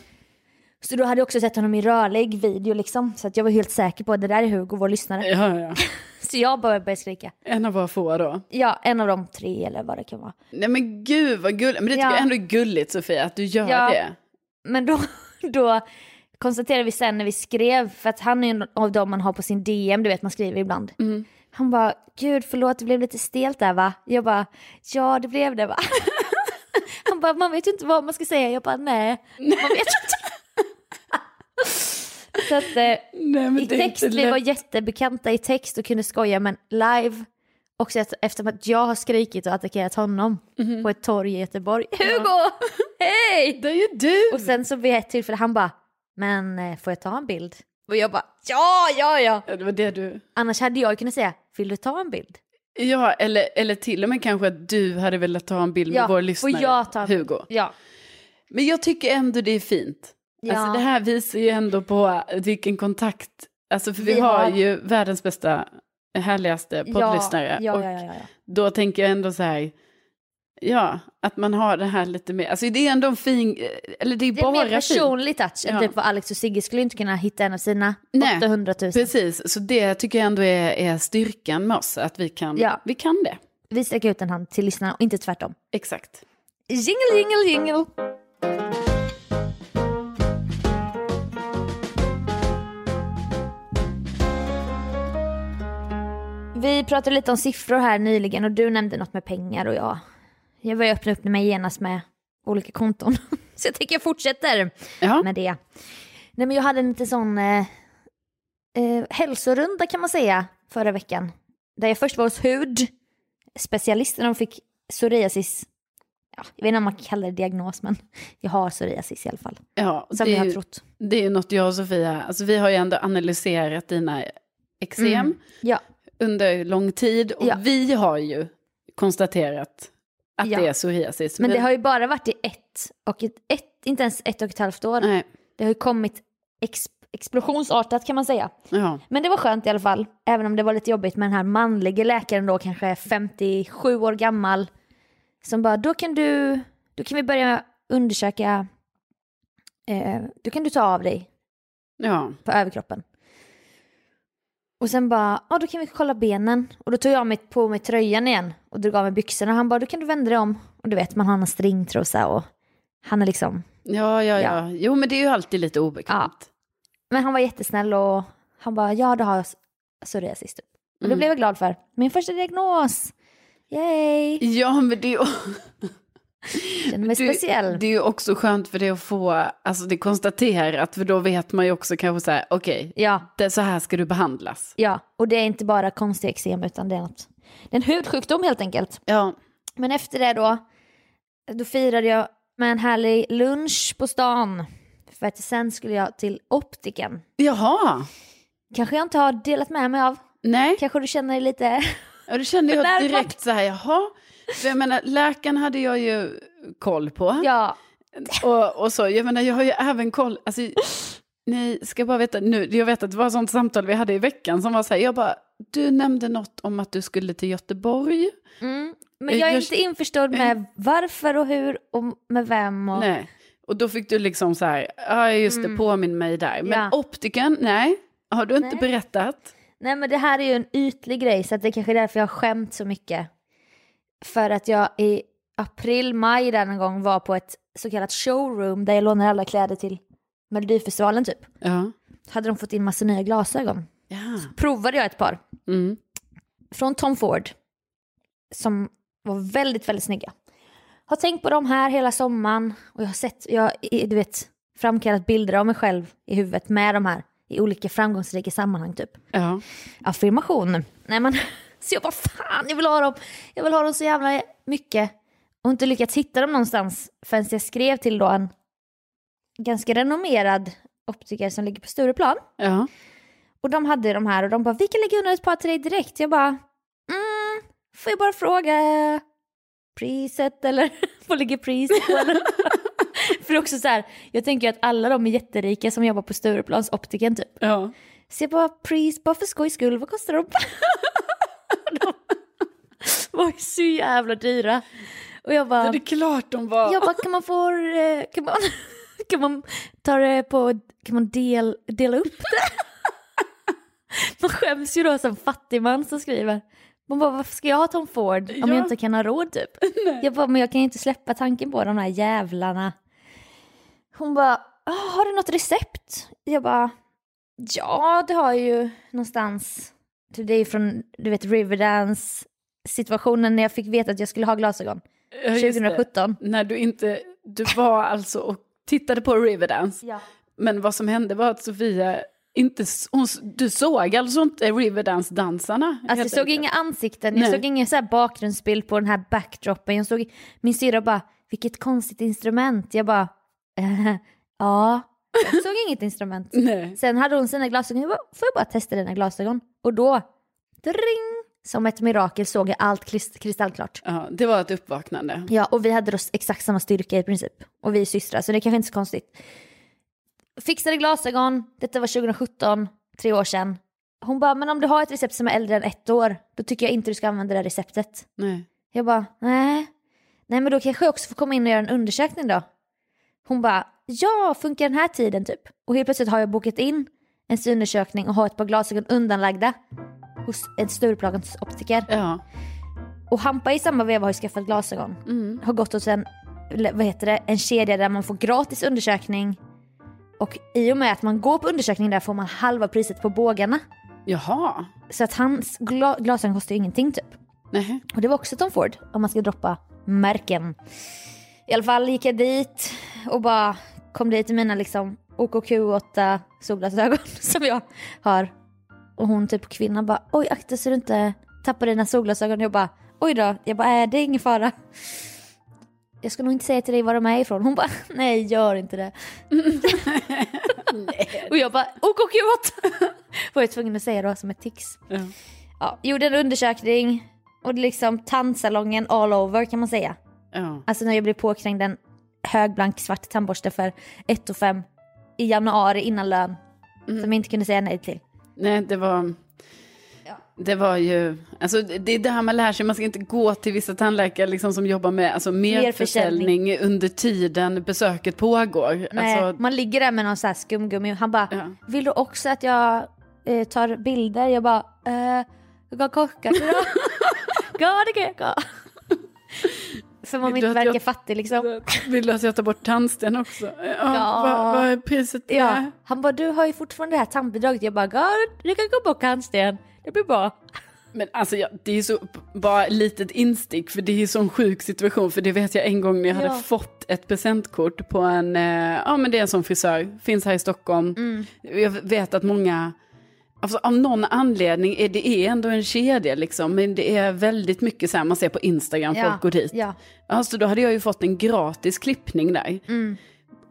[SPEAKER 2] Så då hade jag också sett honom i rörlig video liksom. Så att jag var helt säker på att det där är Hugo, vår lyssnare.
[SPEAKER 1] ja, ja.
[SPEAKER 2] Så jag bara började skrika.
[SPEAKER 1] En av våra få då.
[SPEAKER 2] Ja, en av de tre eller vad det kan vara.
[SPEAKER 1] Nej men gud vad gulligt, men det tycker
[SPEAKER 2] Ja.
[SPEAKER 1] jag ändå är gulligt Sofia att du gör
[SPEAKER 2] Ja.
[SPEAKER 1] det.
[SPEAKER 2] Men då, då konstaterade vi sen när vi skrev, för att han är en av dem man har på sin DM, du vet man skriver ibland.
[SPEAKER 1] Mm.
[SPEAKER 2] Han bara, gud förlåt det blev lite stelt där va? Jag bara, ja det blev det va? han bara, man vet ju inte vad man ska säga. Jag bara, nej, man vet ju inte. Så att, eh,
[SPEAKER 1] Nej, men
[SPEAKER 2] i
[SPEAKER 1] det är
[SPEAKER 2] text,
[SPEAKER 1] inte
[SPEAKER 2] vi
[SPEAKER 1] lätt.
[SPEAKER 2] var jättebekanta i text och kunde skoja, men live, också att- eftersom att jag har skrikit och attackerat honom
[SPEAKER 1] Mhm.
[SPEAKER 2] på ett torg i Göteborg. Hugo! Hej!
[SPEAKER 1] Det är ju du!
[SPEAKER 2] Och sen så vid ett tillfälle han bara, men eh, får jag ta en bild? Och jag bara, ja, ja, ja.
[SPEAKER 1] Ja, Det var det du...
[SPEAKER 2] Annars hade jag kunnat säga, vill du ta en bild?
[SPEAKER 1] Ja, eller, eller till och med kanske att du hade velat ta en bild
[SPEAKER 2] Ja,
[SPEAKER 1] med vår
[SPEAKER 2] får
[SPEAKER 1] lyssnare,
[SPEAKER 2] jag ta en-
[SPEAKER 1] Hugo.
[SPEAKER 2] Ja.
[SPEAKER 1] Men jag tycker ändå det är fint.
[SPEAKER 2] Ja.
[SPEAKER 1] Alltså det här visar ju ändå på vilken kontakt, alltså för vi,
[SPEAKER 2] Vi
[SPEAKER 1] har,
[SPEAKER 2] har-
[SPEAKER 1] ju världens bästa, härligaste poddlyssnare.
[SPEAKER 2] Ja, ja, ja,
[SPEAKER 1] Och
[SPEAKER 2] ja, ja.
[SPEAKER 1] då tänker jag ändå så här, ja, att man har det här lite mer, alltså det är ändå en fin, eller det är,
[SPEAKER 2] Det är
[SPEAKER 1] bara
[SPEAKER 2] mer
[SPEAKER 1] fint.
[SPEAKER 2] personlig touch än
[SPEAKER 1] Ja.
[SPEAKER 2] typ vad Alex och Sigge skulle inte kunna hitta en av sina
[SPEAKER 1] Nej.
[SPEAKER 2] 800 000.
[SPEAKER 1] Precis, så det tycker jag ändå är, är styrkan med oss, att vi kan,
[SPEAKER 2] Ja.
[SPEAKER 1] vi kan det.
[SPEAKER 2] Vi sträcker ut en hand till lyssnarna och inte tvärtom.
[SPEAKER 1] Exakt.
[SPEAKER 2] Jingle, jingle, jingle. Vi pratade lite om siffror här nyligen och du nämnde något med pengar och jag, jag började öppna upp mig genast med olika konton. Så jag tänker jag fortsätter
[SPEAKER 1] Ja,
[SPEAKER 2] med det. Nej men jag hade en liten sån eh, eh, hälsorunda kan man säga förra veckan. Där jag först var hos hudspecialisten och fick psoriasis. Ja, jag vet inte om man kallar det diagnos men jag har psoriasis i alla fall.
[SPEAKER 1] ja
[SPEAKER 2] Som
[SPEAKER 1] det är
[SPEAKER 2] jag har
[SPEAKER 1] ju-
[SPEAKER 2] trott.
[SPEAKER 1] Det är ju något jag och Sofia, alltså vi har ju ändå analyserat dina eksem
[SPEAKER 2] Mm. Ja,
[SPEAKER 1] under lång tid och
[SPEAKER 2] Ja.
[SPEAKER 1] vi har ju konstaterat att
[SPEAKER 2] Ja.
[SPEAKER 1] det är psoriasis.
[SPEAKER 2] men det har ju bara varit i ett och ett, ett inte ens ett och ett halvt år.
[SPEAKER 1] Nej,
[SPEAKER 2] Det har ju kommit ex, explosionsartat kan man säga.
[SPEAKER 1] ja.
[SPEAKER 2] Men det var skönt i alla fall, även om det var lite jobbigt med den här manlige läkaren då, kanske 57 år gammal, som bara, då kan du, då kan vi börja undersöka, eh, då kan du ta av dig
[SPEAKER 1] ja.
[SPEAKER 2] på överkroppen. Och sen bara, ja då kan vi kolla benen. Och då tog jag mig på mig tröjan igen och drog av mig byxorna. Han bara, då kan du vända dig om. Och du vet, man har en stringtrosa och han är liksom
[SPEAKER 1] Ja, ja, ja,
[SPEAKER 2] Ja.
[SPEAKER 1] Jo, men det är ju alltid lite obekvämt.
[SPEAKER 2] Men han var jättesnäll och han bara, ja du har jag psoriasis typ. Och det
[SPEAKER 1] Mm.
[SPEAKER 2] blev jag glad för. Min första diagnos! Yay!
[SPEAKER 1] Ja, men det är ju...
[SPEAKER 2] Känner mig
[SPEAKER 1] Du,
[SPEAKER 2] speciell.
[SPEAKER 1] det är ju också skönt för det att få, alltså det är konstaterat, för då vet man ju också kanske så här, okej,
[SPEAKER 2] Ja,
[SPEAKER 1] det så här ska du behandlas.
[SPEAKER 2] ja. Och det är inte bara konstig eksem utan det är något. Det är en hudsjukdom helt enkelt.
[SPEAKER 1] Ja,
[SPEAKER 2] Men efter det då, då firade jag med en härlig lunch på stan. För att sen skulle jag till optiken.
[SPEAKER 1] jaha,
[SPEAKER 2] Kanske jag inte har delat med mig av.
[SPEAKER 1] nej.
[SPEAKER 2] Kanske du känner dig lite...
[SPEAKER 1] Ja, då kände jag
[SPEAKER 2] Där kom-
[SPEAKER 1] direkt så här, jaha. För jag menar, läkaren hade jag ju koll på.
[SPEAKER 2] Ja,
[SPEAKER 1] Och, och så, jag menar, jag har ju även koll, alltså, ni ska bara veta nu, jag vet att det var ett sånt samtal vi hade i veckan som var så här, jag bara, du nämnde något om att du skulle till Göteborg.
[SPEAKER 2] mm. men jag
[SPEAKER 1] Eh,
[SPEAKER 2] är
[SPEAKER 1] Jag- eh.
[SPEAKER 2] inte införstådd med varför och hur och med vem. Och...
[SPEAKER 1] Nej. Och då fick du liksom så här, ja just det, påminn mig där. Men
[SPEAKER 2] Mm. Ja.
[SPEAKER 1] optiken, nej, har du inte berättat?
[SPEAKER 2] Nej men det här är ju en ytlig grej så att det är kanske är därför jag har skämt så mycket. För att jag i april, maj där någon gång var på ett så kallat showroom där jag lånade alla kläder till Melodifestivalen typ.
[SPEAKER 1] Ja.
[SPEAKER 2] Hade de fått in massa nya glasögon.
[SPEAKER 1] Ja.
[SPEAKER 2] Provade jag ett par
[SPEAKER 1] Mm.
[SPEAKER 2] från Tom Ford som var väldigt, väldigt snygga. Har tänkt på dem här hela sommaren och jag har sett, jag har, i- du vet, framkallat bilder av mig själv i huvudet med de här i olika framgångsrika sammanhang typ
[SPEAKER 1] ja.
[SPEAKER 2] affirmation. Nej men, så jag bara fan, jag vill ha dem. Jag vill ha dem så jävla mycket. Och inte lyckats hitta dem någonstans förrän jag skrev till då en ganska renommerad optiker som ligger på Stureplan.
[SPEAKER 1] Ja.
[SPEAKER 2] Och de hade de här och de bara, vi kan lägga undan ett par till dig direkt. Jag bara, mm, får jag bara fråga priset eller vad ligger priset på? eller?" För det är också så här, jag tänker ju att alla de är jätterika som jobbar på Stureplans optiken typ.
[SPEAKER 1] ja.
[SPEAKER 2] Så jag bara, please, bara för skojs skull, vad kostar de? de var ju så jävla dyra. Och jag
[SPEAKER 1] Så
[SPEAKER 2] bara,
[SPEAKER 1] det är klart de var...
[SPEAKER 2] jag bara kan man få, eh, kan man, kan man ta det på, kan man del, dela upp det? Man skäms ju då som fattig man som skriver. Man bara, varför ska jag ha Tom Ford om
[SPEAKER 1] Ja.
[SPEAKER 2] jag inte kan ha råd typ? Jag bara, men jag kan ju inte släppa tanken på de här jävlarna. Hon bara, "Ah, har du något recept? Jag bara, ja det har jag ju någonstans. Typ, Det är ju från, du vet, Riverdance situationen när jag fick veta att jag skulle ha glasögon.
[SPEAKER 1] Ja, just det.
[SPEAKER 2] 2017.
[SPEAKER 1] När du inte, du var alltså och tittade på Riverdance.
[SPEAKER 2] Ja.
[SPEAKER 1] Men vad som hände var att Sofia inte, s- hon, s- du såg alltså inte Riverdance-dansarna?
[SPEAKER 2] Alltså jag
[SPEAKER 1] helt
[SPEAKER 2] såg
[SPEAKER 1] enkelt.
[SPEAKER 2] inga ansikten, jag
[SPEAKER 1] Nej.
[SPEAKER 2] såg ingen så här bakgrundsbild på den här backdropen. Jag såg, min syrra bara, vilket konstigt instrument. Jag bara, eh, ja, jag såg inget instrument.
[SPEAKER 1] Nej.
[SPEAKER 2] Sen hade hon sina glasögon, jag bara, får jag bara testa dina glasögon? Och då, dring, som ett mirakel såg jag allt kris- kristallklart.
[SPEAKER 1] Ja, det var ett uppvaknande.
[SPEAKER 2] Ja, och vi hade då exakt samma styrka i princip. Och vi är systrar, så det är kanske inte är så konstigt. Fixade glasögon, detta var 2017, tre år sedan. Hon bara, men om du har ett recept som är äldre än ett år, då tycker jag inte du ska använda det här receptet.
[SPEAKER 1] Nej.
[SPEAKER 2] Jag bara, nej. Nej men då kanske jag också får komma in och göra en undersökning då. Hon bara, ja funkar den här tiden typ? Och helt plötsligt har jag bokat in en synundersökning och har ett par glasögon undanlagda hos en Stureplans optiker.
[SPEAKER 1] Ja.
[SPEAKER 2] Och Hampa i samma veva har ju skaffat glasögon.
[SPEAKER 1] Mm.
[SPEAKER 2] Har gått hos en, eller vad heter det, en kedja där man får gratis undersökning. Och i och med att man går på undersökning där får man halva priset på bågarna.
[SPEAKER 1] Jaha.
[SPEAKER 2] Så att hans gla- glasögon kostar ju ingenting typ.
[SPEAKER 1] Nej.
[SPEAKER 2] Och det var också Tom Ford, om man ska droppa märken. I alla fall gick jag dit och bara kom dit i mina liksom OKQ8 solglasögon som jag har. Och hon typ kvinnan bara oj akta så du inte tappar dina solglasögon. Jag bara oj då, jag bara är det är ingen fara. Jag ska nog inte säga till dig var de är ifrån. Hon bara nej gör inte det. och jag bara OKQ8 var jag tvungen att säga då som ett tics
[SPEAKER 1] Ja.
[SPEAKER 2] ja, gjorde en undersökning och det liksom tandsalongen all over kan man säga.
[SPEAKER 1] Ja.
[SPEAKER 2] Alltså när jag blev påkrängd en hög blank svart tandborste för 1 5 i januari innan lön.
[SPEAKER 1] Mm.
[SPEAKER 2] Som jag inte kunde säga nej till.
[SPEAKER 1] Nej, det var... Det var ju, alltså det det är det här man lär sig, man ska inte gå till vissa tandläkare liksom som jobbar med alltså, merförsäljning under tiden besöket pågår.
[SPEAKER 2] Nej,
[SPEAKER 1] Alltså,
[SPEAKER 2] man ligger där med någon så här skumgummi och han bara
[SPEAKER 1] Ja.
[SPEAKER 2] “Vill du också att jag eh, tar bilder?” Jag bara “Eh, jag har kockat idag.” “Ja, det kan jag göra." Som om
[SPEAKER 1] Du
[SPEAKER 2] inte
[SPEAKER 1] att jag-
[SPEAKER 2] verkar fattig liksom.
[SPEAKER 1] vill du att jag tar bort tandsten också? Ja,
[SPEAKER 2] Ja.
[SPEAKER 1] Vad, vad är priset på
[SPEAKER 2] Ja.
[SPEAKER 1] det?
[SPEAKER 2] Han bara “Du har ju fortfarande det här tandbidraget.” Jag bara “Ja, du kan gå bort kantsten. Det blir bra.”
[SPEAKER 1] Men alltså jag, det är så, bara litet instick, för det är en sån sjuk situation. För det vet jag en gång när jag
[SPEAKER 2] Ja.
[SPEAKER 1] hade fått ett presentkort på en, eh, ja men det är en sån frisör, finns här i Stockholm.
[SPEAKER 2] Mm.
[SPEAKER 1] Jag vet att många, alltså av någon anledning, är det är ändå en kedja liksom, men det är väldigt mycket så här, man ser på Instagram,
[SPEAKER 2] Ja,
[SPEAKER 1] folk går dit.
[SPEAKER 2] Ja.
[SPEAKER 1] Ja, så Alltså, då hade jag ju fått en gratis klippning där.
[SPEAKER 2] Mm.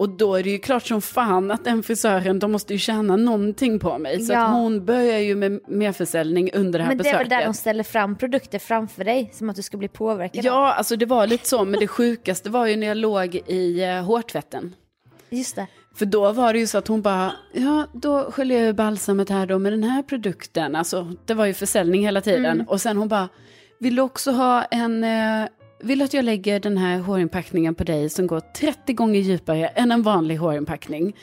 [SPEAKER 1] Och då är det ju klart som fan att den frisören, de måste ju tjäna någonting på mig. Så
[SPEAKER 2] Ja.
[SPEAKER 1] att hon börjar ju med merförsäljning under det här
[SPEAKER 2] Men det är väl
[SPEAKER 1] besöket.
[SPEAKER 2] där de ställer fram produkter framför dig som att du ska bli påverkad av.
[SPEAKER 1] Ja, alltså det var lite så, men det sjukaste var ju när jag låg i eh, hårtvätten.
[SPEAKER 2] Just det.
[SPEAKER 1] För då var det ju så att hon bara, ja då sköljer jag ju balsamet här då med den här produkten. Alltså det var ju försäljning hela tiden.
[SPEAKER 2] Mm.
[SPEAKER 1] Och sen hon bara, vill du också ha en, eh, vill du att jag lägger den här hårinpackningen på dig som går 30 gånger djupare än en vanlig hårinpackning?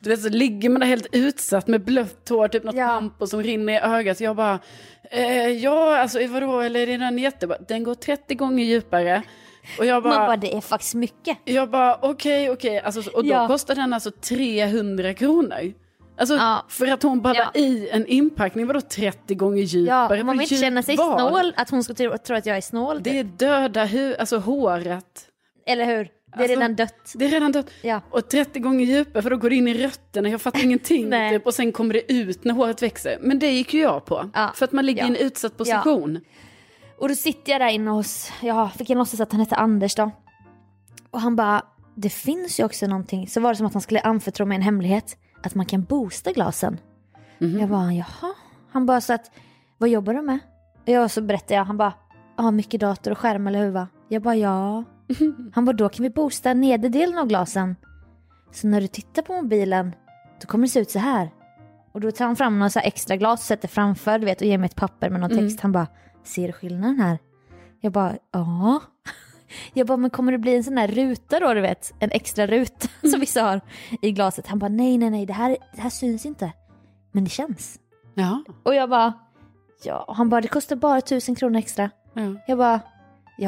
[SPEAKER 1] Du vet så ligger man där helt utsatt med blött hår, typ något
[SPEAKER 2] Ja.
[SPEAKER 1] schampo som rinner i ögat. Jag bara, eh, ja alltså vadå, eller är den jättebra? Den går 30 gånger djupare. Och jag
[SPEAKER 2] Man bara, det är faktiskt mycket.
[SPEAKER 1] jag bara okej, okej. Alltså, så- och då
[SPEAKER 2] Ja.
[SPEAKER 1] kostar den alltså 300 kronor. Alltså
[SPEAKER 2] Ja.
[SPEAKER 1] för att hon ballar
[SPEAKER 2] Ja.
[SPEAKER 1] i en inpackning, vadå 30 gånger
[SPEAKER 2] Ja,
[SPEAKER 1] djupare?
[SPEAKER 2] man
[SPEAKER 1] Vad
[SPEAKER 2] vill inte
[SPEAKER 1] djup
[SPEAKER 2] känna sig
[SPEAKER 1] var?
[SPEAKER 2] snål, att hon ska tro, tro att jag är snål.
[SPEAKER 1] Det
[SPEAKER 2] typ.
[SPEAKER 1] är döda hu- alltså håret.
[SPEAKER 2] Eller hur? Det är
[SPEAKER 1] Alltså-
[SPEAKER 2] redan dött.
[SPEAKER 1] Det är redan dött.
[SPEAKER 2] Ja.
[SPEAKER 1] Och 30 gånger djupare för då går det in i rötterna, jag fattar ingenting.
[SPEAKER 2] Nej.
[SPEAKER 1] typ, och sen kommer det ut när håret växer. Men det gick ju jag på.
[SPEAKER 2] Ja.
[SPEAKER 1] För att man ligger
[SPEAKER 2] Ja.
[SPEAKER 1] i en utsatt position.
[SPEAKER 2] Och då sitter jag där inne hos, jag fick jag låtsas att han hette Anders då. Och han bara, det finns ju också någonting. Så var det som att han skulle anförtro mig en hemlighet. Att man kan boosta glasen. Jag bara, jaha. Han bara, så att, vad jobbar du med? Och jag så berättade jag, han bara, ja mycket dator och skärm eller hur va? Jag bara, ja. Han bara, då kan vi boosta nederdelen av glasen. Så när du tittar på mobilen, då kommer det se ut så här. Och då tar han fram några så här extra glas och sätter framför du vet, och ger mig ett papper med någon text. Han bara, ser du skillnaden här? Jag bara, ja. Jag bara, men kommer det bli en sån där ruta då du vet? En extra ruta som vissa har i glaset. Han bara, nej nej nej, det här, det här syns inte. Men det känns.
[SPEAKER 1] Ja.
[SPEAKER 2] Och jag bara, ja. Och Han bara, det kostar bara tusen kronor extra.
[SPEAKER 1] ja.
[SPEAKER 2] Jag bara,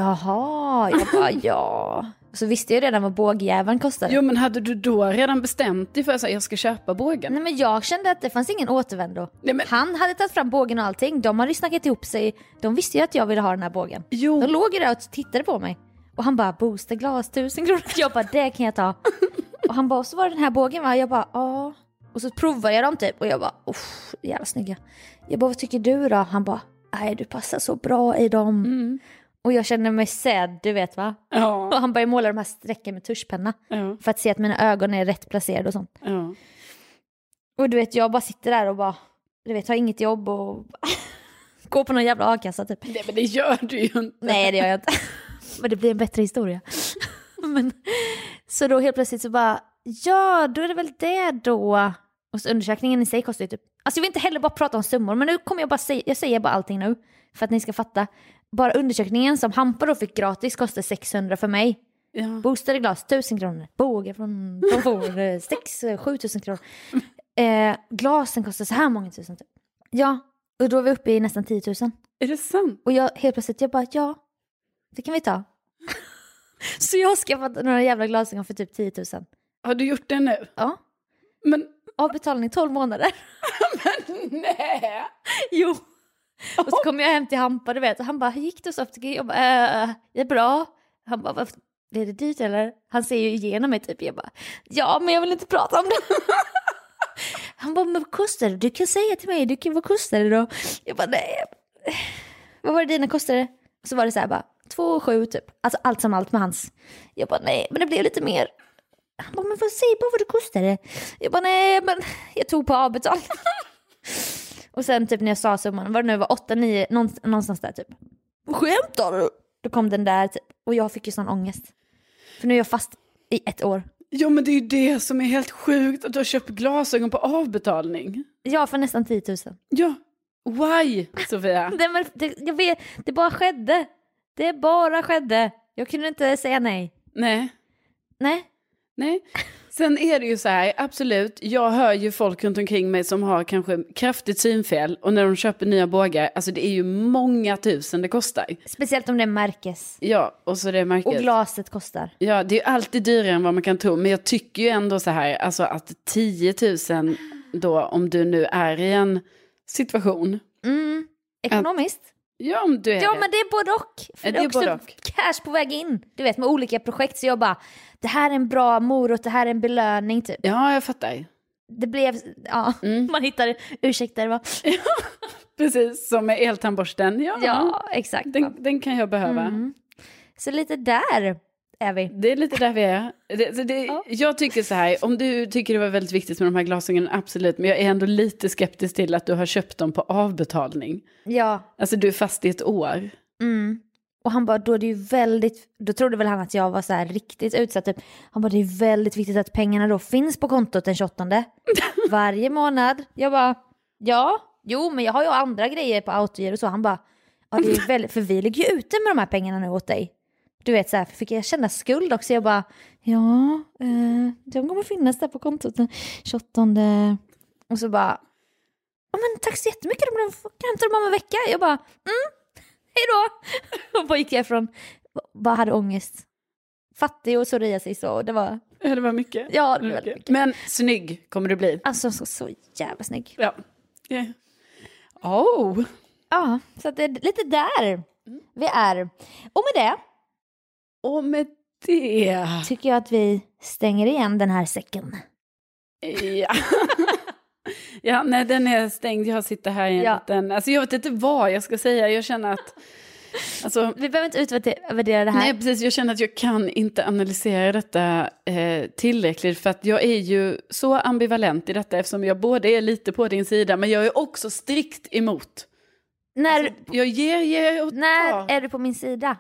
[SPEAKER 2] jaha. Jag bara, ja. Så visste jag ju redan vad bågjäveln kostade.
[SPEAKER 1] Jo men hade du då redan bestämt dig för att säga, jag ska köpa bågen?
[SPEAKER 2] Nej men jag kände att det fanns ingen återvändo.
[SPEAKER 1] Nej, men-
[SPEAKER 2] Han hade tagit fram bågen och allting, de hade ju snackat ihop sig, de visste ju att jag ville ha den här bågen.
[SPEAKER 1] Jo.
[SPEAKER 2] De låg ju där och tittade på mig. Och han bara boosterglas, tusen kronor. Jag bara det kan jag ta. Och han bara, och så var det den här bågen va? Jag bara ja. Och så provade jag dem typ och jag bara uff, jävla snygga. Jag bara vad tycker du då? Han bara, nej du passar så bra i dem. Och jag kände mig sedd, du vet va?
[SPEAKER 1] Mm. Ja.
[SPEAKER 2] Och han började måla de här strecken med tuschpenna.
[SPEAKER 1] Ja.
[SPEAKER 2] För att se att mina ögon är rätt placerade och sånt.
[SPEAKER 1] ja.
[SPEAKER 2] Och du vet, jag bara sitter där och bara, du vet, har inget jobb och går på någon jävla a-kassa typ.
[SPEAKER 1] Nej men det gör du ju inte.
[SPEAKER 2] Nej, det gör jag inte. Men det blir en bättre historia. Men, så då helt plötsligt så bara, ja, då är det väl det då. Och så undersökningen i sig kostar ju typ, alltså jag vill inte heller bara prata om summor, men nu kommer jag bara säga, jag säger bara allting nu för att ni ska fatta. Bara undersökningen som Hampa då fick gratis kostade 600 för mig.
[SPEAKER 1] Ja.
[SPEAKER 2] Boostade glas 1000 kronor. Båge från eh, kontor 6 7000 kronor. Eh, glasen kostar så här många tusen. typ. Ja, och då är vi uppe i nästan 10 000.
[SPEAKER 1] Är det sant?
[SPEAKER 2] Och jag helt plötsligt, jag bara ja, det kan vi ta. så jag har skaffat några jävla glasögon för typ 10 000.
[SPEAKER 1] Har du gjort det nu?
[SPEAKER 2] Ja,
[SPEAKER 1] Men
[SPEAKER 2] avbetalning 12 månader.
[SPEAKER 1] nej!
[SPEAKER 2] jo. Och så kom jag hem till Hampa, du vet, och han bara, hur gick det hos optiker? Jag bara, eh, det är bra. Han bara, "Varför- är det dyrt eller? Han ser ju igenom mig typ. Jag bara, ja men jag vill inte prata om det. Han bara, men vad kostar det? Du kan säga till mig, du kan, vad kostar det då? Jag bara, nej. eh, Vad var det dina kostade? Så var det så här bara, två och sju typ. Alltså allt som allt med hans. Jag bara, nej, men det blev lite mer. Han bara, men vad, säg bara vad det kostade. Jag bara, nej, men jag tog på avbetalning. Och sen typ när jag sa summan, vad det nu var, 8, 9, någonstans där typ. Skämtar du? Då kom den där typ. Och jag fick ju sån ångest. För nu är jag fast i ett år.
[SPEAKER 1] Jo men det är ju det som är helt sjukt att du har köpt glasögon på avbetalning.
[SPEAKER 2] Ja, för nästan 10 000.
[SPEAKER 1] Ja. Why Sofia?
[SPEAKER 2] Det, men, det, jag vet, det bara skedde. Det bara skedde. Jag kunde inte säga nej.
[SPEAKER 1] nej.
[SPEAKER 2] Nej.
[SPEAKER 1] Nej. Sen är det ju så här, absolut, jag hör ju folk runt omkring mig som har kanske kraftigt synfel och när de köper nya bågar, alltså det är ju många tusen det kostar.
[SPEAKER 2] Speciellt om det är märkes.
[SPEAKER 1] Ja, och så det
[SPEAKER 2] Och
[SPEAKER 1] märket.
[SPEAKER 2] glaset kostar.
[SPEAKER 1] Ja, det är ju alltid dyrare än vad man kan tro, men jag tycker ju ändå så här, alltså att 10 000 då, om du nu är i en situation
[SPEAKER 2] Mm. Ekonomiskt?
[SPEAKER 1] Ja, om du är
[SPEAKER 2] Ja
[SPEAKER 1] det.
[SPEAKER 2] men det är både och. För
[SPEAKER 1] Ja,
[SPEAKER 2] det är
[SPEAKER 1] det är både
[SPEAKER 2] också cash på väg in. Du vet med olika projekt så jag bara, det här är en bra morot, det här är en belöning typ.
[SPEAKER 1] Ja, jag fattar.
[SPEAKER 2] Det blev, ja, man hittar ursäkter va?
[SPEAKER 1] Precis, som med eltandborsten. Ja,
[SPEAKER 2] Ja, Mm. exakt. va.
[SPEAKER 1] Den, den kan jag behöva.
[SPEAKER 2] Så lite där är vi.
[SPEAKER 1] Det är lite där vi är. Det, så det,
[SPEAKER 2] Ja.
[SPEAKER 1] Jag tycker så här, om du tycker det var väldigt viktigt med de här glasögonen, absolut. Men jag är ändå lite skeptisk till att du har köpt dem på avbetalning.
[SPEAKER 2] Ja.
[SPEAKER 1] Alltså du är fast i ett år.
[SPEAKER 2] Mm. Och han bara, då är det ju väldigt, då trodde väl han att jag var så här riktigt utsatt typ. Han bara, det är väldigt viktigt att pengarna då finns på kontot den 28 varje månad. Jag bara, ja, jo men jag har ju andra grejer på autogiro och så. Han bara, ja det är väldigt, för vi ligger ju ute med de här pengarna nu åt dig. Du vet så här, fick jag känna skuld också? Jag bara, ja, eh, de kommer finnas där på kontot den 28. Och så bara, ja men tack så jättemycket, de kan jag hämta dem om en vecka. Jag bara, hej då! Och bara gick jag ifrån, bara hade ångest. Fattig och psoriasis och det var,
[SPEAKER 1] Ja, Det var mycket.
[SPEAKER 2] ja det
[SPEAKER 1] Det
[SPEAKER 2] var
[SPEAKER 1] var
[SPEAKER 2] väldigt mycket.
[SPEAKER 1] mycket. Men snygg kommer du bli.
[SPEAKER 2] Alltså så, så jävla snygg.
[SPEAKER 1] Ja. Yeah. Oh.
[SPEAKER 2] Ja, så att det är lite där vi är. Och med det
[SPEAKER 1] Och med det...
[SPEAKER 2] tycker jag att vi stänger igen den här säcken.
[SPEAKER 1] Ja. ja, nej den är stängd. Jag sitter här i en
[SPEAKER 2] Ja.
[SPEAKER 1] liten... Alltså jag vet inte vad jag ska säga. Jag känner att... Alltså,
[SPEAKER 2] Vi behöver inte utvärdera det här.
[SPEAKER 1] Nej, precis. Jag känner att jag kan inte analysera detta eh, tillräckligt för att jag är ju så ambivalent i detta eftersom jag både är lite på din sida men jag är också strikt emot.
[SPEAKER 2] när
[SPEAKER 1] Jag ger, ger och
[SPEAKER 2] när
[SPEAKER 1] tar.
[SPEAKER 2] är du på min sida?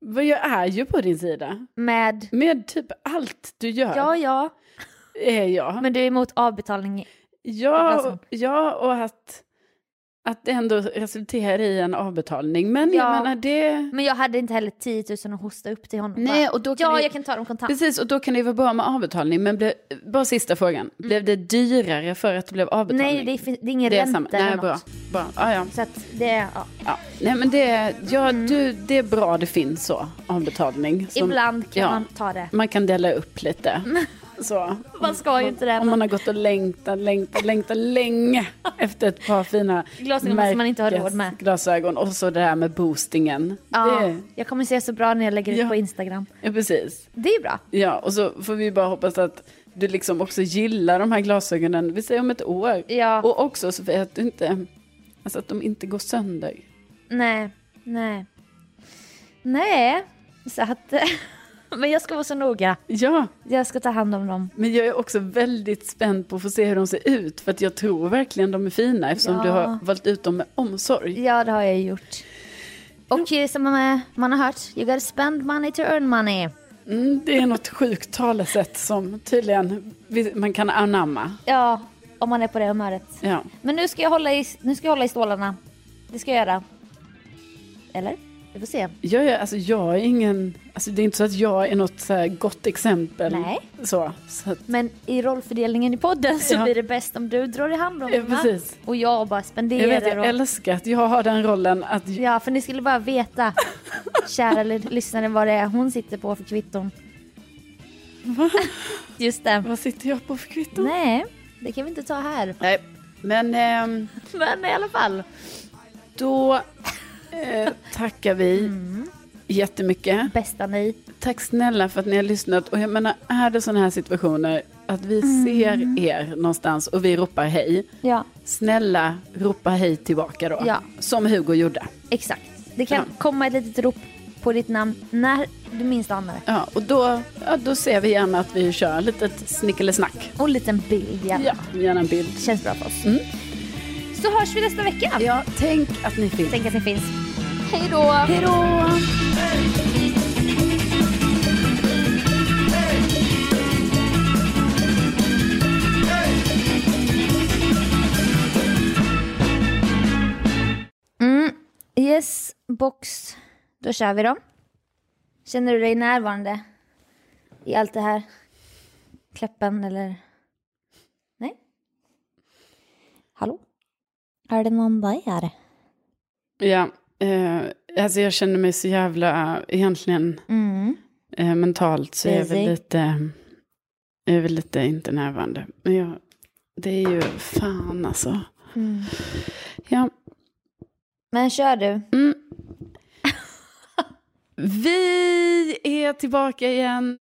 [SPEAKER 1] Vad Jag är ju på din sida.
[SPEAKER 2] Med,
[SPEAKER 1] Med typ allt du gör
[SPEAKER 2] ja ja,
[SPEAKER 1] är jag.
[SPEAKER 2] men du är emot avbetalning.
[SPEAKER 1] ja,
[SPEAKER 2] Ibland
[SPEAKER 1] och, ja, och att, att det ändå resulterar i en avbetalning. Men
[SPEAKER 2] Ja.
[SPEAKER 1] jag menar det...
[SPEAKER 2] Men jag hade inte heller 10 000 att hosta upp till honom.
[SPEAKER 1] Nej,
[SPEAKER 2] va?
[SPEAKER 1] och då kan
[SPEAKER 2] ja,
[SPEAKER 1] det-
[SPEAKER 2] jag kan ta dem kontant.
[SPEAKER 1] Precis, och då kan det ju vara bra med avbetalning. Men blev, bara sista frågan, blev det dyrare för att det blev avbetalning?
[SPEAKER 2] Mm. Nej, det, fin- det är ingen
[SPEAKER 1] Det är
[SPEAKER 2] ränta
[SPEAKER 1] samma.
[SPEAKER 2] eller
[SPEAKER 1] Nej,
[SPEAKER 2] något.
[SPEAKER 1] bra. bra. Ah, ja.
[SPEAKER 2] Så att det, ja.
[SPEAKER 1] Ja. Nej, men det, är- ja,
[SPEAKER 2] Mm.
[SPEAKER 1] du, det är bra det finns så, avbetalning. Som,
[SPEAKER 2] Ibland kan
[SPEAKER 1] ja.
[SPEAKER 2] man ta det.
[SPEAKER 1] Man kan dela upp lite. Så.
[SPEAKER 2] Man ska ju inte det.
[SPEAKER 1] Om man har gått och längtat, längtat, längtat länge efter ett par fina
[SPEAKER 2] Glasögon som man inte har råd med.
[SPEAKER 1] glasögon och så det där med boostingen.
[SPEAKER 2] Ja,
[SPEAKER 1] Det,
[SPEAKER 2] jag kommer se så bra när jag lägger ut
[SPEAKER 1] Ja.
[SPEAKER 2] på Instagram.
[SPEAKER 1] ja, precis.
[SPEAKER 2] Det är bra.
[SPEAKER 1] Ja, och så får vi bara hoppas att du liksom också gillar de här glasögonen, vi säger om ett år.
[SPEAKER 2] Ja.
[SPEAKER 1] Och också Sofia, att du inte, alltså att de inte går sönder.
[SPEAKER 2] Nej, nej. Nej, så att... Men jag ska vara så noga.
[SPEAKER 1] Ja,
[SPEAKER 2] Jag ska ta hand om dem.
[SPEAKER 1] Men jag är också väldigt spänd på att få se hur de ser ut. För att jag tror verkligen de är fina eftersom
[SPEAKER 2] Ja.
[SPEAKER 1] du har valt ut dem med omsorg.
[SPEAKER 2] Ja, det har jag gjort. Och eh, som man, man har hört, you gotta spend money to earn money.
[SPEAKER 1] Mm, det är något sjukt talesätt som tydligen vi- man kan anamma.
[SPEAKER 2] Ja, om man är på det humöret.
[SPEAKER 1] Ja.
[SPEAKER 2] Men nu ska jag hålla i, nu ska jag hålla i stålarna. Det ska jag göra. Eller? Vi får se.
[SPEAKER 1] Jag, är, alltså, jag är ingen, alltså, det är inte så att jag är något så här gott exempel.
[SPEAKER 2] Nej.
[SPEAKER 1] Så, så att,
[SPEAKER 2] Men i rollfördelningen i podden så
[SPEAKER 1] Ja.
[SPEAKER 2] blir det bäst om du drar i
[SPEAKER 1] Ja,
[SPEAKER 2] handbromsarna
[SPEAKER 1] precis.
[SPEAKER 2] och jag bara
[SPEAKER 1] jag,
[SPEAKER 2] spenderar.
[SPEAKER 1] vet, jag
[SPEAKER 2] och...
[SPEAKER 1] älskar att jag har den rollen att
[SPEAKER 2] Ja, för ni skulle bara veta, kära l- lyssnare, vad det är hon sitter på för kvitton.
[SPEAKER 1] Va?
[SPEAKER 2] Just det.
[SPEAKER 1] vad sitter jag på för kvitto?
[SPEAKER 2] Nej, det kan vi inte ta här.
[SPEAKER 1] Nej. Men ehm,
[SPEAKER 2] Men i alla fall.
[SPEAKER 1] då eh, tackar vi
[SPEAKER 2] Mm.
[SPEAKER 1] jättemycket.
[SPEAKER 2] Bästa ni.
[SPEAKER 1] Tack snälla för att ni har lyssnat. Och jag menar, är det sådana här situationer att vi
[SPEAKER 2] Mm.
[SPEAKER 1] ser er någonstans och vi ropar hej.
[SPEAKER 2] Ja,
[SPEAKER 1] Snälla, ropa hej tillbaka då.
[SPEAKER 2] Ja.
[SPEAKER 1] Som Hugo gjorde.
[SPEAKER 2] exakt. Det kan komma ett litet rop på ditt namn när du minst anar det.
[SPEAKER 1] Ja, och då, ja, då ser vi gärna att vi kör ett litet snickelesnack.
[SPEAKER 2] Och en liten bild gärna.
[SPEAKER 1] Ja, gärna en bild.
[SPEAKER 2] Känns bra för oss.
[SPEAKER 1] Mm.
[SPEAKER 2] Så hörs vi nästa vecka.
[SPEAKER 1] Ja, tänk att ni finns.
[SPEAKER 2] Tänk att ni finns. Hej då! Hej då! Mm. Yes, box. Då kör vi då. Känner du dig närvarande i allt det här? Kläppen eller? Nej? Hallå? Är det någon där?
[SPEAKER 1] Ja, eh, alltså jag känner mig så jävla, egentligen
[SPEAKER 2] Mm.
[SPEAKER 1] eh, mentalt så är jag väl
[SPEAKER 2] Busy.
[SPEAKER 1] lite, eh, jag är väl lite inte närvarande. Men jag, det är ju fan alltså.
[SPEAKER 2] Mm.
[SPEAKER 1] Ja.
[SPEAKER 2] Men kör du.
[SPEAKER 1] mm. Vi är tillbaka igen